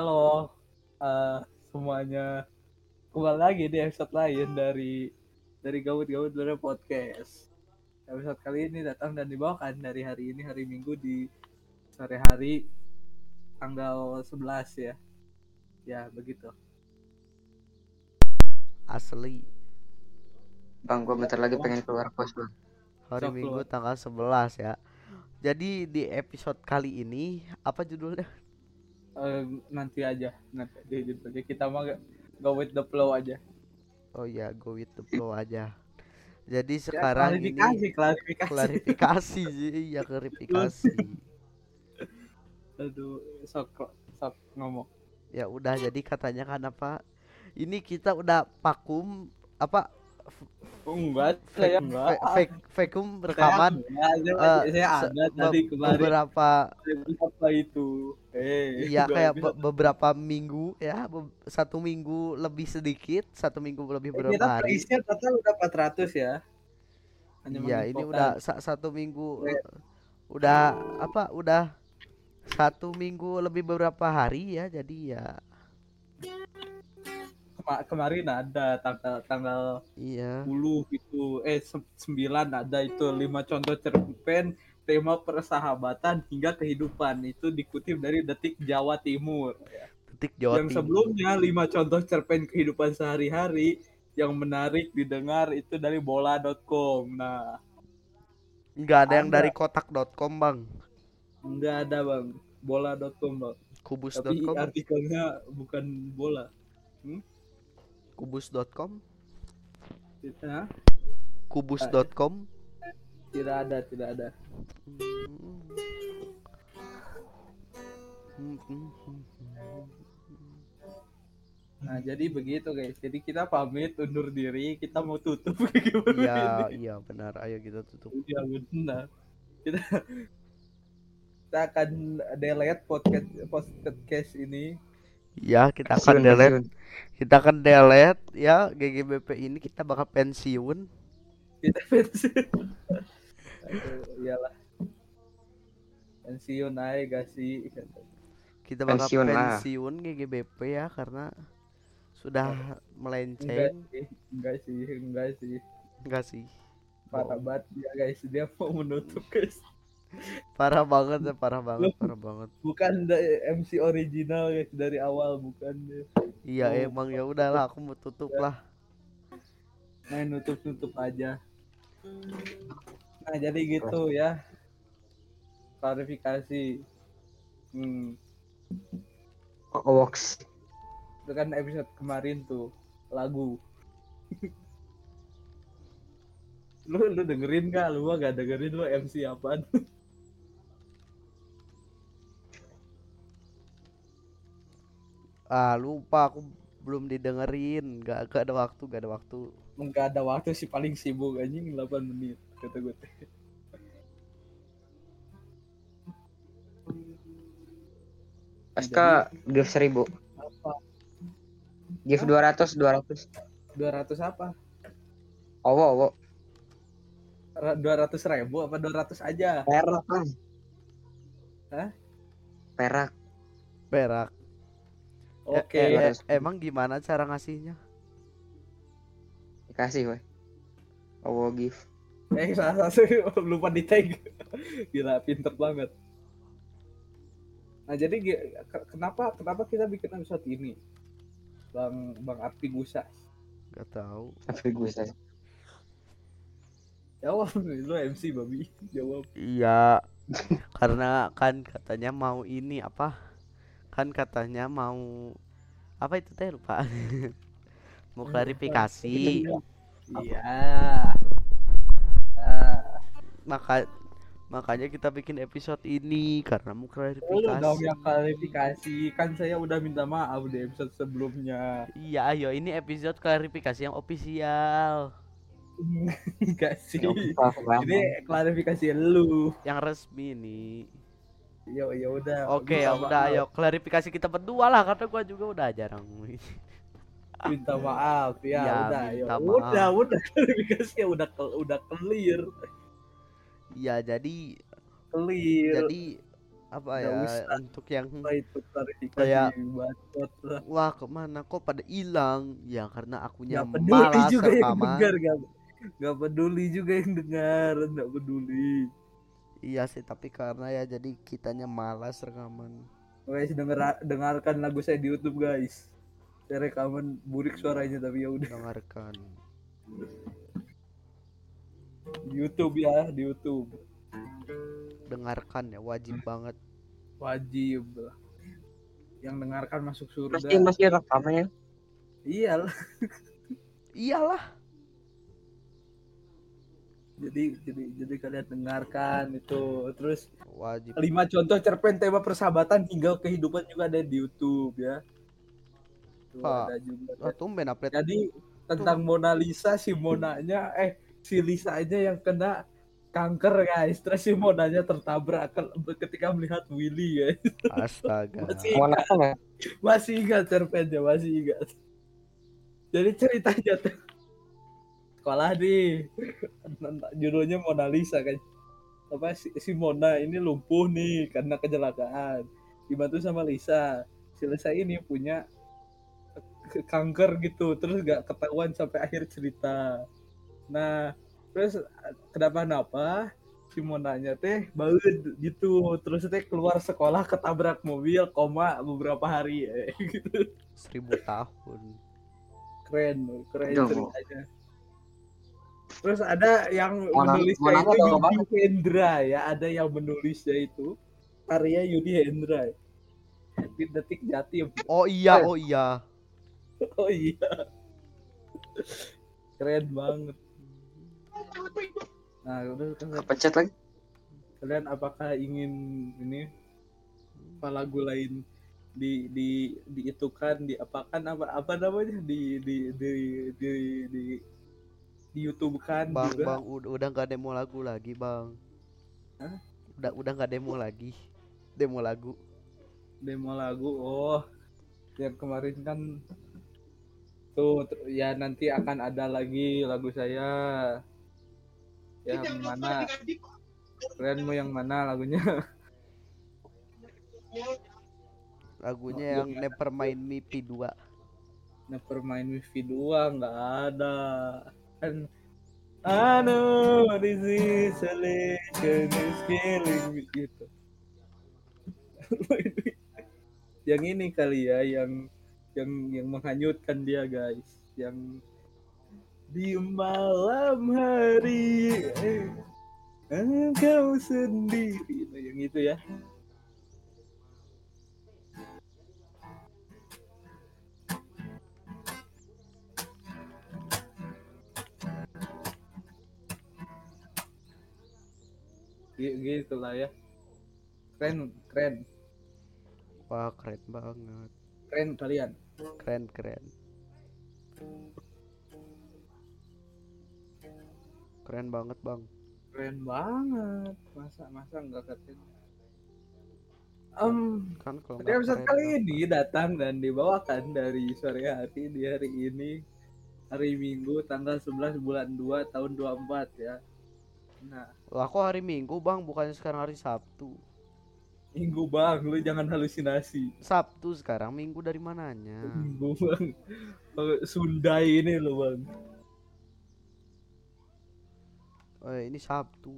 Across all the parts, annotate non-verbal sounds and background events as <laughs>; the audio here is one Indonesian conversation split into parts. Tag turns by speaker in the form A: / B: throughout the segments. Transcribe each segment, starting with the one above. A: Halo eh, semuanya kembali lagi di episode lain dari dari gawut-gawut Dora podcast. Episode kali ini datang dan dibawakan dari hari ini hari Minggu di sore hari tanggal 11 ya. Ya begitu.
B: Asli
C: Bang, gue bentar lagi pengen keluar pos bang.
B: hari
A: Sok
B: Minggu tanggal 11 ya. Jadi di episode kali ini apa judulnya?
A: Eh, nanti aja nanti aja, gitu aja. Kita mah gak- go with the flow aja.
B: Oh ya, go with the flow aja.
A: Ya,
B: Jadi sekarang ini
A: klarifikasi, klarifikasi.
B: klarifikasi <laughs> sih, ya klarifikasi.
A: Aduh, sok sok ngomong.
B: Ya udah jadi katanya kan apa? Ini kita udah vakum apa
A: Enggak,
B: vac-
A: saya enggak.
B: vac- vac- vacuum rekaman
A: saya, enggak, saya,
B: eh,
A: saya
B: se-
A: ada
B: be-
A: tadi kemarin
B: beberapa
A: apa itu eh
B: Iya
A: gua
B: kayak
A: bilang,
B: be- beberapa minggu ya be- satu minggu lebih sedikit satu minggu
A: eh,
B: lebih
A: kita
B: berapa hari
A: terisinya total udah 400 ya Hanya
B: Iya ini
A: menginfokan.
B: udah sa- satu minggu
A: Kayak-
B: udah apa udah satu minggu lebih beberapa hari ya jadi ya
A: Kema- kemarin ada tanggal tanggal
B: iya
A: 10 itu eh se- 9 ada itu lima contoh cerpen tema persahabatan hingga kehidupan itu dikutip dari detik Jawa Timur
B: detik Jawa
A: yang
B: Timur.
A: sebelumnya lima contoh cerpen kehidupan sehari-hari yang menarik didengar itu dari bola.com nah
B: nggak ada yang
A: ada.
B: dari kotak.com bang
A: Enggak ada bang bola.com bang tapi
B: kubus.com
A: artikelnya bukan bola
B: kubus.com
A: kita
B: kubus.com
A: tidak ada tidak ada
B: Hmm,
A: nah jadi begitu guys jadi kita pamit undur diri kita mau tutup <laughs> kayak gimana
B: iya
A: ini?
B: iya benar ayo kita tutup
A: iya benar kita kita akan delete podcast podcast ini
B: ya kita akan
C: Pensiun,
B: delete
C: pensiun.
B: kita akan delete ya GGBP ini kita bakal pensiun
A: kita Iya pensiun Aduh, iyalah pensiun aja gak sih
B: kita bakal pensiun,
C: Pensiun lah.
B: GGBP ya karena sudah
A: enggak
B: melenceng
A: sih enggak sih enggak sih
B: enggak sih
A: parah
B: Bohong.
A: banget ya guys dia mau menutup guys
B: parah banget ya parah banget parah banget
A: bukan da- MC original guys dari awal bukan
B: iya
A: Oh.
B: emang ya udahlah aku mau tutup lah
A: main nutup nutup aja nah jadi gitu ya klarifikasi hmm
C: Oh, Woks.
A: itu kan episode kemarin tuh lagu <laughs> lu lu dengerin gak lu mah gak dengerin lu MC apaan <laughs>
B: ah lupa aku belum didengerin gak, gak ada waktu gak ada waktu
A: nggak ada waktu sih paling sibuk anjing 8 menit kata gue teh.
C: Aska give seribu,
A: apa
C: give dua ratus, dua ratus.
A: 200 apa
C: Owo, owo.
A: dua ratus ribu apa dua ratus aja
C: Perak bang.
A: Hah?
C: Perak.
B: perak
A: oke
B: Eh, eh,
C: Oke.
B: eh, emang gimana cara ngasihnya
C: Dikasih, weh. Owo give.
A: eh salah satu <laughs> lupa di tag gila pinter banget nah jadi ge- ke- kenapa kenapa kita bikin episode ini bang bang Arti Gusa
B: gak tahu
C: Tapi gue saya.
A: <laughs> jawab lu MC babi jawab
B: iya <laughs> karena kan katanya mau ini apa kan katanya mau apa itu teh lupa <laughs> mau klarifikasi
A: iya Ah,
B: maka makanya kita bikin episode ini karena
A: lu
B: mau
A: dong
B: klarifikasi.
A: yang klarifikasi kan saya udah minta maaf di episode sebelumnya <laughs>
B: Iya, ayo ini episode klarifikasi yang official,
A: enggak sih <laughs>
C: Iya.
A: ini
C: Ini
A: klarifikasi lu
B: yang resmi nih.
A: Ya ya udah.
B: Oke,
A: Minta
B: ya udah
A: maaf,
B: ayo klarifikasi kita berdua lah karena gua juga udah jarang. <laughs>
A: Minta maaf ya,
B: Ya,
A: udah ya
B: minta maaf.
A: udah udah klarifikasi ya udah ke- udah clear
B: Iya, jadi
A: clear.
B: jadi apa
A: Nggak
B: ya
A: usah.
B: untuk yang
A: apa itu klarifikasi
B: Kayak-
A: bacot lah
B: wah kemana kok pada hilang ya karena akunya
A: nggak peduli
B: malas
A: juga ya, yang
B: rekaman
A: dengar nggak nggak peduli juga yang dengar nggak peduli
B: iya sih tapi karena ya jadi kitanya malas rekaman
A: guys denger dengarkan lagu saya di YouTube guys saya rekaman burik suaranya tapi ya udah
B: dengarkan
A: di YouTube ya di YouTube
B: dengarkan ya wajib banget
A: wajib lah. yang dengarkan masuk surga Iya
C: Masih masih rekamannya.
A: iyalah
B: iyalah
A: jadi jadi jadi kalian dengarkan itu terus
B: wajib
A: lima contoh cerpen tema persahabatan hingga kehidupan juga ada di YouTube ya. Tuh,
B: Pak.
A: ada juga.
B: Wah, tumben update
A: Jadi tentang Mona Lisa si Monanya eh si Lisanya yang kena kanker guys. Terus si Monanya tertabrak ke- ketika melihat Willy guys.
B: astaga
A: Masih
C: Mau nakal ya?
A: masih ingat cerpennya, masih ingat. Jadi ceritanya tuh sekolah nih. Judulnya Mona Lisa kan. Apa si, si Mona ini lumpuh nih karena kecelakaan. Dibantu sama Lisa. Si Lisa ini punya ke- kanker gitu, terus gak ketahuan sampai akhir cerita. Nah, terus kenapa-napa si Monanya teh baut gitu terus teh keluar sekolah ketabrak mobil koma beberapa hari <laughs> eh. gitu
B: seribu tahun
A: keren keren
C: Aduh.
A: ceritanya terus ada yang
C: Mona-
A: menulisnya
C: Mona
A: itu
C: tuh
A: Yudi
C: banget.
A: Hendra ya ada yang menulisnya itu karya Yudi Hendra di detik jatim
B: oh iya
C: Eh.
B: oh iya
A: <laughs> oh iya keren banget nah terus kan
C: Kepencet lagi.
A: kalian apakah ingin ini apa lagu lain di di diitukan di apakan apa apa namanya di di di di di di YouTube kan
B: bang
A: juga
B: bang ud- udah nggak demo lagu lagi bang
A: Hah?
B: udah udah nggak demo lagi demo lagu
A: demo lagu oh yang kemarin kan tuh t- ya nanti akan ada lagi lagu saya yang mana kalian mau yang mana lagunya Oh,
B: lagunya yang
A: iya.
B: Nevermind Me P2
A: Nevermind with V2 nggak ada kan I know this isolation is killing me gitu <laughs> yang ini kali ya yang yang yang menghanyutkan dia guys yang di malam hari eh, engkau sendiri Nah, yang itu ya Gi- gitu lah ya keren keren
B: wah keren banget
A: keren kalian
B: keren keren keren banget bang
A: keren banget masa masa nggak keren um
B: kan kalau
A: pada
B: nggak
A: episode
B: keren,
A: kali
B: apa?
A: ini datang dan dibawakan dari sore hari di hari ini hari minggu tanggal 11 bulan 2 tahun 24 ya nah
B: lah kok hari minggu bang bukannya sekarang hari sabtu
A: minggu bang lu jangan halusinasi
B: sabtu sekarang minggu dari mananya
A: minggu bang Bang, Sunda ini lo bang
B: eh, ini sabtu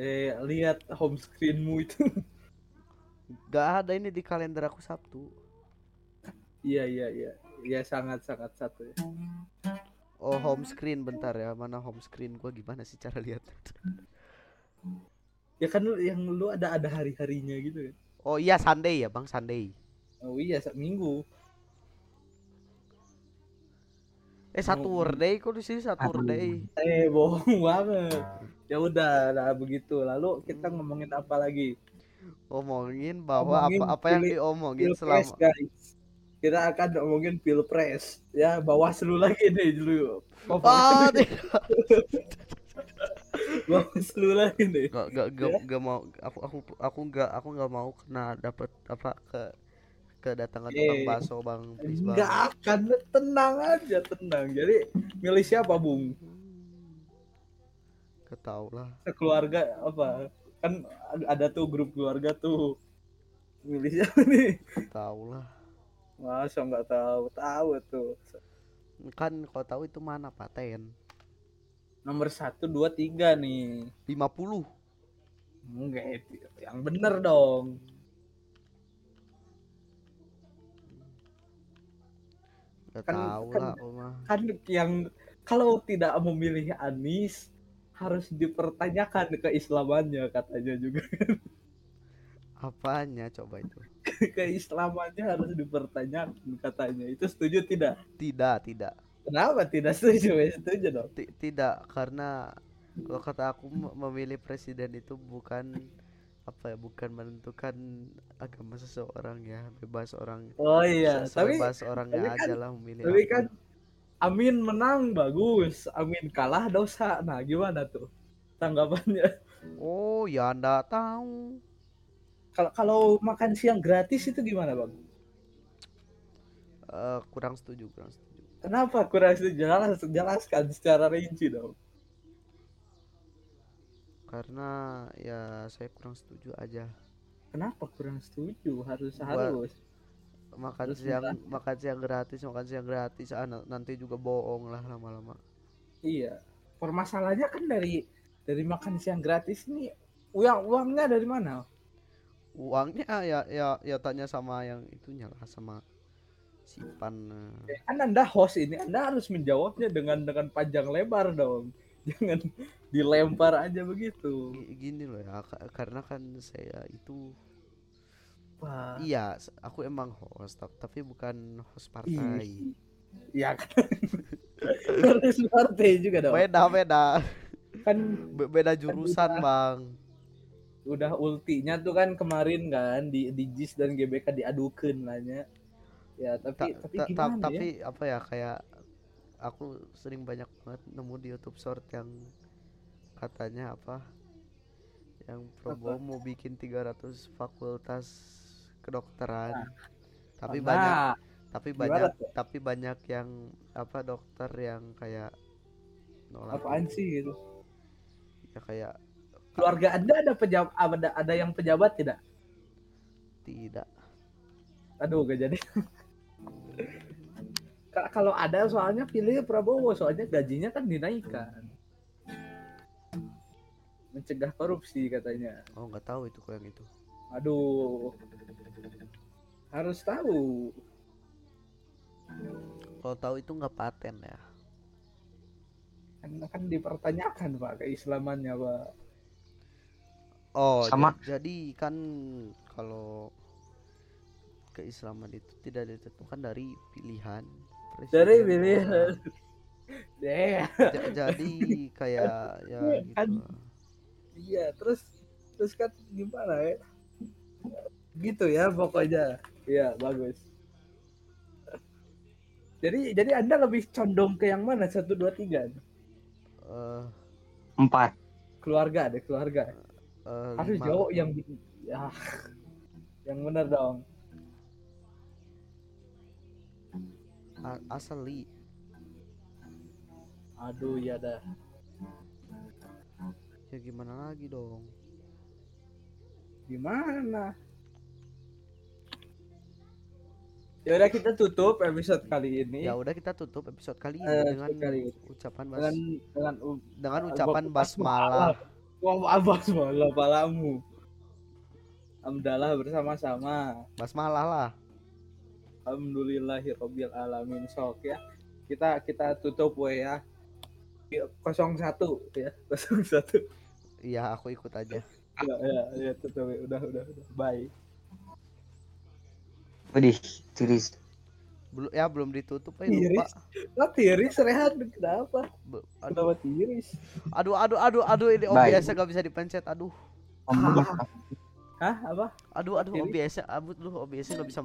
A: eh lihat home screenmu itu <laughs>
B: Gak ada ini di kalender aku sabtu
A: iya iya iya ya sangat sangat satu ya
B: oh home screen bentar ya mana home screen gua gimana sih cara lihat
A: ya kan lu yang lu ada ada hari harinya gitu ya
B: oh iya sunday ya bang sunday
A: oh iya sa- minggu
B: eh
A: Oh,
B: saturday kok di sini saturday
A: Eh, <laughs> bohong banget. Ya udah lah begitu. Lalu kita ngomongin apa lagi?
B: omongin bahwa
A: Omongin
B: apa apa yang
A: pilih-
B: diomongin
A: Pilpres,
B: selama
A: guys. Kita akan ngomongin pilpres. Ya, Bawaslu lagi nih dulu.
B: Ah,
A: Favorit
B: tidak.
A: <laughs> Bawaslu lagi nih.
B: Gak, gak, gak,
A: Ya.
B: gak mau aku aku aku gak aku gak mau kena dapat apa ke kedatangan tukang
A: Eh,
B: bakso bang please bang
A: Enggak akan tenang aja, tenang. Jadi milih siapa, Bung?
B: Ketau lah
A: Sekeluarga apa? kan ad- ada tuh grup keluarga tuh milih siapa nih
B: Tahu lah.
A: masa nggak tahu tahu tuh
B: Kan kau tahu itu mana paten?
A: nomor satu dua tiga nih
B: 50.
A: enggak itu yang bener dong
B: Gak
A: Kan-
B: tahu
A: kan-
B: lah aku mah.
A: kan yang kalau tidak memilih Anies harus dipertanyakan keislamannya katanya juga <laughs>
B: Apanya coba itu?
A: keislamannya harus dipertanyakan katanya itu setuju tidak
B: Tidak, tidak.
A: kenapa tidak setuju ya setuju dong
B: Ti- tidak karena kalau kata aku me- memilih presiden itu bukan apa ya bukan menentukan agama seseorang ya bebas orang
A: oh iya
B: se-
A: tapi
B: sebebas orangnya
A: tapi kan-
B: aja lah memilih
A: tapi
B: Ya, apa.
A: kan Amin menang bagus Amin kalah dosa nah gimana tuh tanggapannya <laughs>
B: oh ya anda tahu
A: kalau kalau makan siang gratis itu gimana bang
B: Eh, kurang setuju kurang setuju
A: kenapa kurang setuju jelas jelaskan secara rinci dong
B: karena ya saya kurang setuju aja
A: kenapa kurang setuju harus
B: Gua-
A: harus
B: makan
A: Terus
B: siang makan siang gratis makan siang gratis ah, na- nanti juga bohong lah lama-lama
A: Iya. Permasalahannya kan dari dari makan siang gratis ini uang uangnya dari mana?
B: uangnya ya ya ya tanya sama yang itunya lah sama sipan eh.
A: Kan Anda host ini, Anda harus menjawabnya dengan dengan panjang lebar dong. <laughs> Jangan dilempar aja begitu.
B: Gi- gini loh ya ka- karena kan saya itu
A: Wah.
B: iya s- aku emang host tap- tapi bukan host partai
A: Iya kan. <laughs> Harus partai juga dong.
B: beda beda
A: Kan
B: Be- beda jurusan bang
A: udah ultinya tuh kan kemarin kan di di JIS dan GBK diadukeun lahnya. Ya,
B: Ta-
A: tapi tapi
B: ta- ta-
A: gimana ya?
B: tapi apa ya kayak aku sering banyak banget nemu di YouTube short yang katanya apa yang Prabowo mau bikin 300 fakultas kedokteran tapi
A: Nah,
B: banyak tapi
A: gimana
B: banyak
A: tuh?
B: tapi banyak yang apa dokter yang kayak nolak
A: apaan
B: gitu.
A: sih gitu?
B: ya kayak
A: Keluarga Anda ada pejabat ada, ada yang pejabat tidak?
B: tidak
A: Aduh gak jadi. <laughs> Ka- Kalau ada soalnya pilih Prabowo soalnya gajinya kan dinaikkan. Mencegah korupsi katanya.
B: oh nggak tahu itu kok yang itu
A: Aduh. Harus tahu.
B: kalau tahu itu nggak paten ya
A: Kan, kan dipertanyakan Pak keislamannya Pak.
B: oh
C: Sama.
B: ja- jadi kan kalau keislaman itu tidak ditentukan dari pilihan presiden
A: Dari
B: orang.
A: pilihan. Deh.
B: Ja- jadi kayak ya
A: Kan.
B: gitu lah.
A: Iya, terus terus kan gimana ya? Gitu ya pokoknya. Iya, bagus. Jadi jadi Anda lebih condong ke yang mana? Satu, dua, tiga?
B: Eh,
C: Empat.
A: Keluarga deh, keluarga.
B: eh,
A: Harus
B: lima.
A: jawab yang ya, yang benar dong.
B: A- asli
A: Aduh, ya dah.
B: ya gimana lagi dong
A: Gimana? Ya udah kita tutup episode kali ini
B: ya udah kita tutup episode kali ini
A: Iya. Eh,
B: dengan
A: episode kali ini.
B: ucapan bas
A: dengan dengan um-
B: dengan
A: Gua
B: ucapan
A: kupas
B: basmalah
A: Wah, apa semua palamu. Alhamdulillah bersama-sama.
B: basmalah lah
A: Alhamdulillahirobbil alamin sok ya. Kita kita tutup we ya. 01 ya. <laughs> 01.
B: iya aku ikut aja
A: Ya ya, ya tutup we. udah udah udah. Bye.
C: Udih, tulis.
B: belum ya belum ditutup eh,
A: Iris.
B: lupa
A: Lah tiris Rehan kenapa?
B: Be- aduh,
A: Kenapa tiris?
B: aduh aduh aduh aduh ini
C: Baik.
B: OBS gak bisa dipencet aduh
C: Om,
A: Hah, apa?
B: aduh aduh
A: Iris.
B: OBS abut lu OBS gak bisa